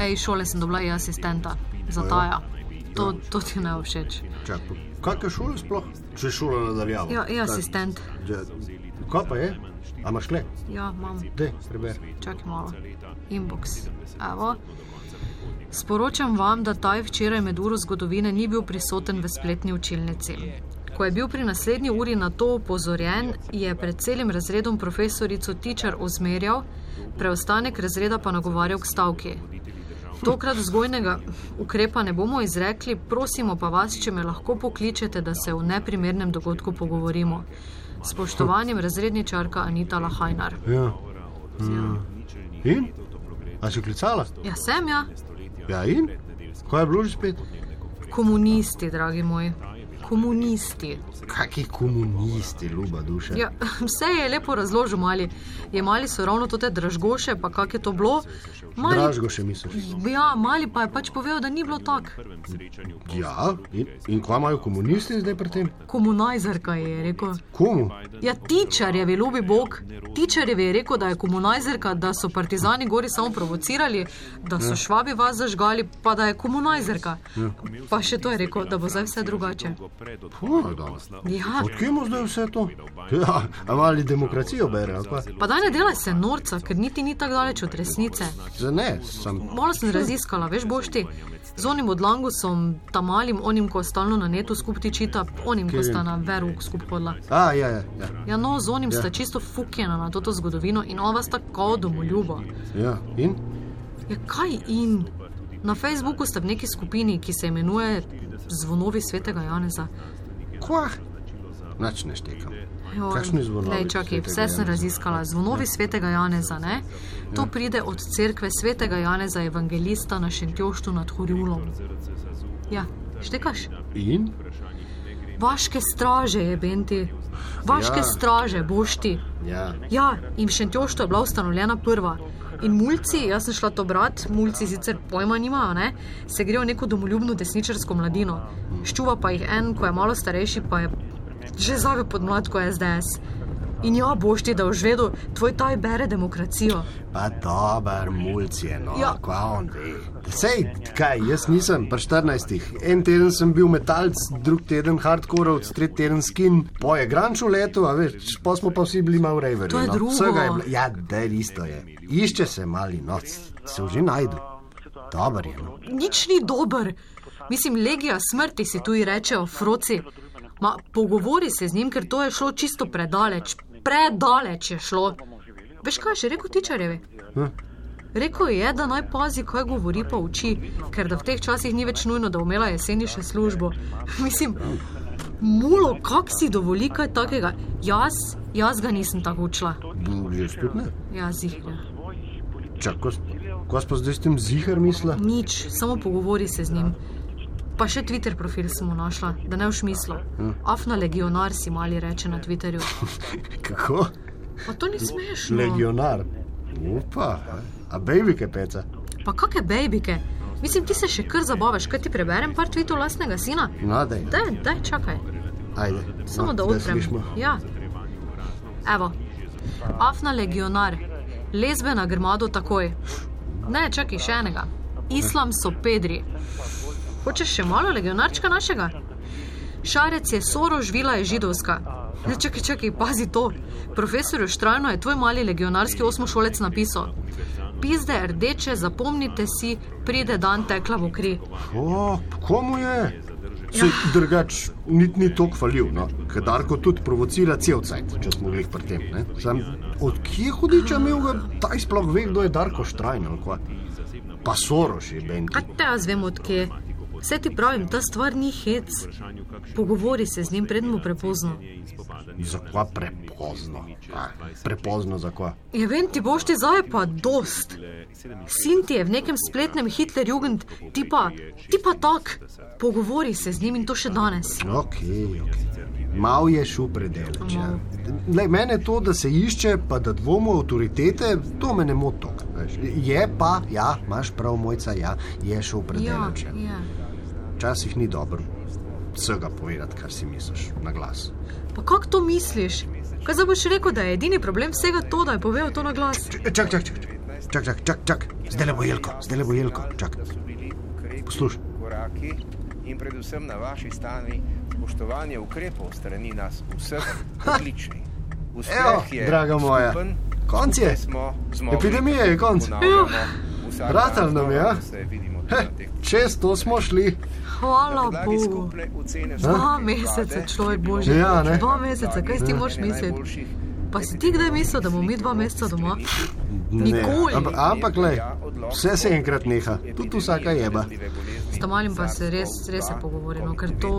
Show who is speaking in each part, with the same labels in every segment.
Speaker 1: Ej, iz šole sem dobila je asistenta, za taja. To, to ti ne bo všeč.
Speaker 2: Čakaj, kakšne šole sploh? Če je šola nadaljavo.
Speaker 1: Ja, je asistent.
Speaker 2: Kaj pa je? A imaš le?
Speaker 1: Ja, imam.
Speaker 2: Dej, preberi.
Speaker 1: Čakaj malo. Inbox. Evo. Sporočam vam, da taj včeraj med uro zgodovine ni bil prisoten v spletni učilnici. Ko je bil pri naslednji uri na to opozorjen, je pred celim razredom profesorico Tičar ozmerjal, preostanek razreda pa nagovarjal k stavki. Tokrat vzgojnega ukrepa ne bomo izrekli, prosimo pa vas, če me lahko pokličete, da se v neprimernem dogodku pogovorimo. Spoštovanjem razredničarka Anita Lahajnar.
Speaker 2: Ja. Mm. In? A si klicala?
Speaker 1: Ja, sem ja,
Speaker 2: Ja, in? Kaj je bilo že spet?
Speaker 1: komunisti, dragi moji, komunisti.
Speaker 2: Kaki komunisti, ljuba duša.
Speaker 1: Ja, vse je lepo razložil, mali. Jemali so ravno te dražgoše, pa kak je to bilo. Mali,
Speaker 2: Dražgo še misliš.
Speaker 1: ja, mali pa je pač povedal, da ni bilo tako.
Speaker 2: Ja, in, in kva imajo komunisti zdaj pri tem?
Speaker 1: Komunajzerka je rekel.
Speaker 2: Komu?
Speaker 1: Ja, tičarjevi, ljubi Bog. Tičarjevi je rekel, da je komunajzerka, da so partizani gori samo provocirali, da so švabi vas zažgali, pa da je komunajzerka. Pa še to je rekel, da bo zdaj vse drugače.
Speaker 2: Puh, danes.
Speaker 1: Ja,
Speaker 2: Odkje mu zdaj vse to? Ja, a mali demokracijo bere, ali pa?
Speaker 1: pa da ne delaj se norca, ker niti ni tako daleč od resnice.
Speaker 2: Za ne, sem.
Speaker 1: Malo sem raziskala, veš, boš ti. Z onim odlangusom, tam malim, onim, ko stalno na netu skupaj tičita, onim, ko sta na veru skupaj hodila.
Speaker 2: A, ja, ja, ja.
Speaker 1: Ja, no, z onim sta čisto fukjena na to zgodovino in ova sta kao domoljuba.
Speaker 2: ja. In?
Speaker 1: Ja, kaj in? Na Facebooku ste v neki skupini, ki se imenuje Zvonovi svetega Janeza.
Speaker 2: Kva? Nač ne štekam.
Speaker 1: Jo,
Speaker 2: Kakšni zvonovi
Speaker 1: Lej, čakaj,
Speaker 2: svetega
Speaker 1: vse sem
Speaker 2: Janeza? Ja.
Speaker 1: raziskala. Zvonovi svetega Janeza, ne? To pride od cerkve svetega Janeza Evangelista na Šentjoštu nad Horjulom. Ja, štekaš?
Speaker 2: In?
Speaker 1: Vaške straže je, Benti. Vaške ja.
Speaker 2: Ja.
Speaker 1: straže, boš ti.
Speaker 2: Ja.
Speaker 1: Ja, in v Šentjoštu je bila ustanovljena prva. In mulci, jaz sem šla to brat, mulci sicer pojma nimajo, ne? se grejo neko domoljubno desničarsko mladino. Ščuva pa jih en, ko je malo starejši, pa je že zavel pod mladko SDS. In ja, boš ti, da v žvedu tvoj taj bere demokracijo.
Speaker 2: Pa dober mulc je, no,
Speaker 1: Ja.
Speaker 2: kva on ve. Sej, kaj, jaz nisem, pa 14. En teden sem bil metalc, drug teden hardcoreovc, tretji teden skin, poje granču letu, a veš, pa smo pa vsi bili malo reveri.
Speaker 1: To je
Speaker 2: no.
Speaker 1: drugo.
Speaker 2: Vsega je bilo, ja, da isto je. Išče se mali noc, se že najdu. Dober je, no.
Speaker 1: Nič ni dober. Mislim, legija smrti si tu ji rečejo, froci. Ma, pogovori se z njim, ker to je šlo čisto predaleč. Predaleč je šlo. Veš kaj, je še rekel tičarjevi?
Speaker 2: Hm.
Speaker 1: Rekl je, da naj pazi, kaj govori pa uči, ker da v teh časih ni več nujno, da umela jeseni še službo. Mislim, mulo, kak si dovoli kaj takega? Jaz, jaz ga nisem tako učila.
Speaker 2: Mm, Že spet ne.
Speaker 1: Ja, zihne.
Speaker 2: Čakaj, ko smo zdaj s tem zihar mislili?
Speaker 1: Nič, samo pogovori se z njim. Pa še Twitter profil smo našla, da ne v šmislu. Afna legionar si mali reče na Twitterju.
Speaker 2: Kako?
Speaker 1: Pa to ni smešno.
Speaker 2: Legionar. Upa, a? a baby kepeca.
Speaker 1: Pa kakšne bejbike. Mislim, ti se še kar zabavaš, kaj ti preberem par tvitev lastnega sina.
Speaker 2: No, daj,
Speaker 1: Daj, daj, čakaj.
Speaker 2: ajde.
Speaker 1: Samo
Speaker 2: no,
Speaker 1: da
Speaker 2: da
Speaker 1: odprem.
Speaker 2: slišimo.
Speaker 1: Ja. Evo, Afna legionar, lezbe na grmado takoj. Ne, čakaj še enega. Islam so pedri. Hočeš še malo legionarčka našega? Šarec je soro, žvila je židovska. Ne, čakaj, čakaj, pazi to. Profesor Štrajno je tvoj mali legionarski osmošolec napisal. Pizde rdeče, zapomnite si, pride dan tekla v kri.
Speaker 2: O, komu
Speaker 1: Ja.
Speaker 2: je? Se drugač niti ni tako falil, no. ker Darko tudi provocira cel cajt, če smo bili pri tem. ne. Sam, od kje hudiča imel ga, taj sploh ve, kdo je Darko Štrajn ali kva. Pa Soroš je Benji.
Speaker 1: Kaj te jaz vem, odkje? Vse ti pravim, ta stvar ni hec. Pogovori se z njim, predem mu prepozno.
Speaker 2: Zakva prepozno. A, prepozno zakva.
Speaker 1: Je "Ja, vem, ti boš ti zdaj pa dost. Sin ti je v nekem spletnem Hitlerjugend, ti pa, ti pa tak. Pogovori se z njim in to še danes.
Speaker 2: Ok, ok. Mal je šel predeleč. Ja. Lej, mene to, da se išče, pa da dvomimo avtoritete, to me ne moti. toliko, veš. Je pa, ja, imaš prav, mojca, ja, je šel
Speaker 1: Ja,
Speaker 2: predeleč. Ja.
Speaker 1: ja.
Speaker 2: Včasih ni dobro vsega povedati, kar si misliš na glas.
Speaker 1: Pa kako to misliš? Kaj zdaj boš rekel, da je edini problem vsega to, da je povedal to na glas?
Speaker 2: Čakaj, čakaj, čakaj. čak, čak, čak, čak. zdaj le bo jelko, zdaj le bo jelko. Čak. Poslušaj.
Speaker 3: koraki in predvsem na vaši strani spoštovanje ukrepov strani nas vseh odličnih.
Speaker 2: Evo, draga moja, konc je. Epidemije je konc. Ratal nam je, a? Heh, čez to smo šli.
Speaker 1: Hvala Bogu. Dva meseca, človek božji.
Speaker 2: Ja, ne.
Speaker 1: Dva meseca, kaj si ti moraš misliti? Pa si ti kdaj mislil, da bomo mi dva meseca doma? Nikoli.
Speaker 2: Ampak, ampak le, vse se enkrat neha, tudi vsaka jeba.
Speaker 1: S Tamaljem pa se res, res se pogovorimo, ker to,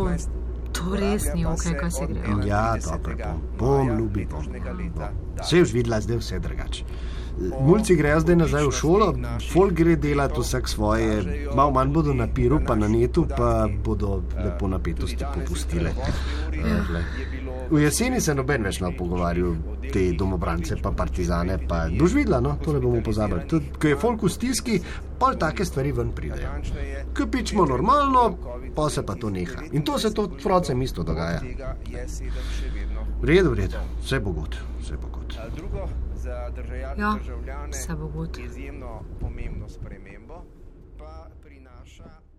Speaker 1: to res ni ok, kaj se gre.
Speaker 2: Ja, dobro, bom, bom ljubi, bom. Vse je videla, zdaj vse drugače. Mulci grejo zdaj nazaj v šolo, folk gre delati vsak svoje, malo manj bodo na piru, pa na netu, pa bodo lepo napetosti popustile.
Speaker 1: Ja.
Speaker 2: Eh, glej. V jeseni se noben več ne pogovarja, te domobrance, pa partizane, pa boš videla, no, to ne bomo pozabili. Tudi, ko je folk v stiski, pol take stvari ven pridejo. Ko pičemo normalno, pa se pa to neha. In to se tudi frocem isto dogaja. V redu, v redu, vse bo god, vse bo god.
Speaker 3: Drugo, za državljane,
Speaker 1: Ja,
Speaker 3: državljane
Speaker 1: vse bo god.
Speaker 3: izjemno pomembno spremembo pa prinaša.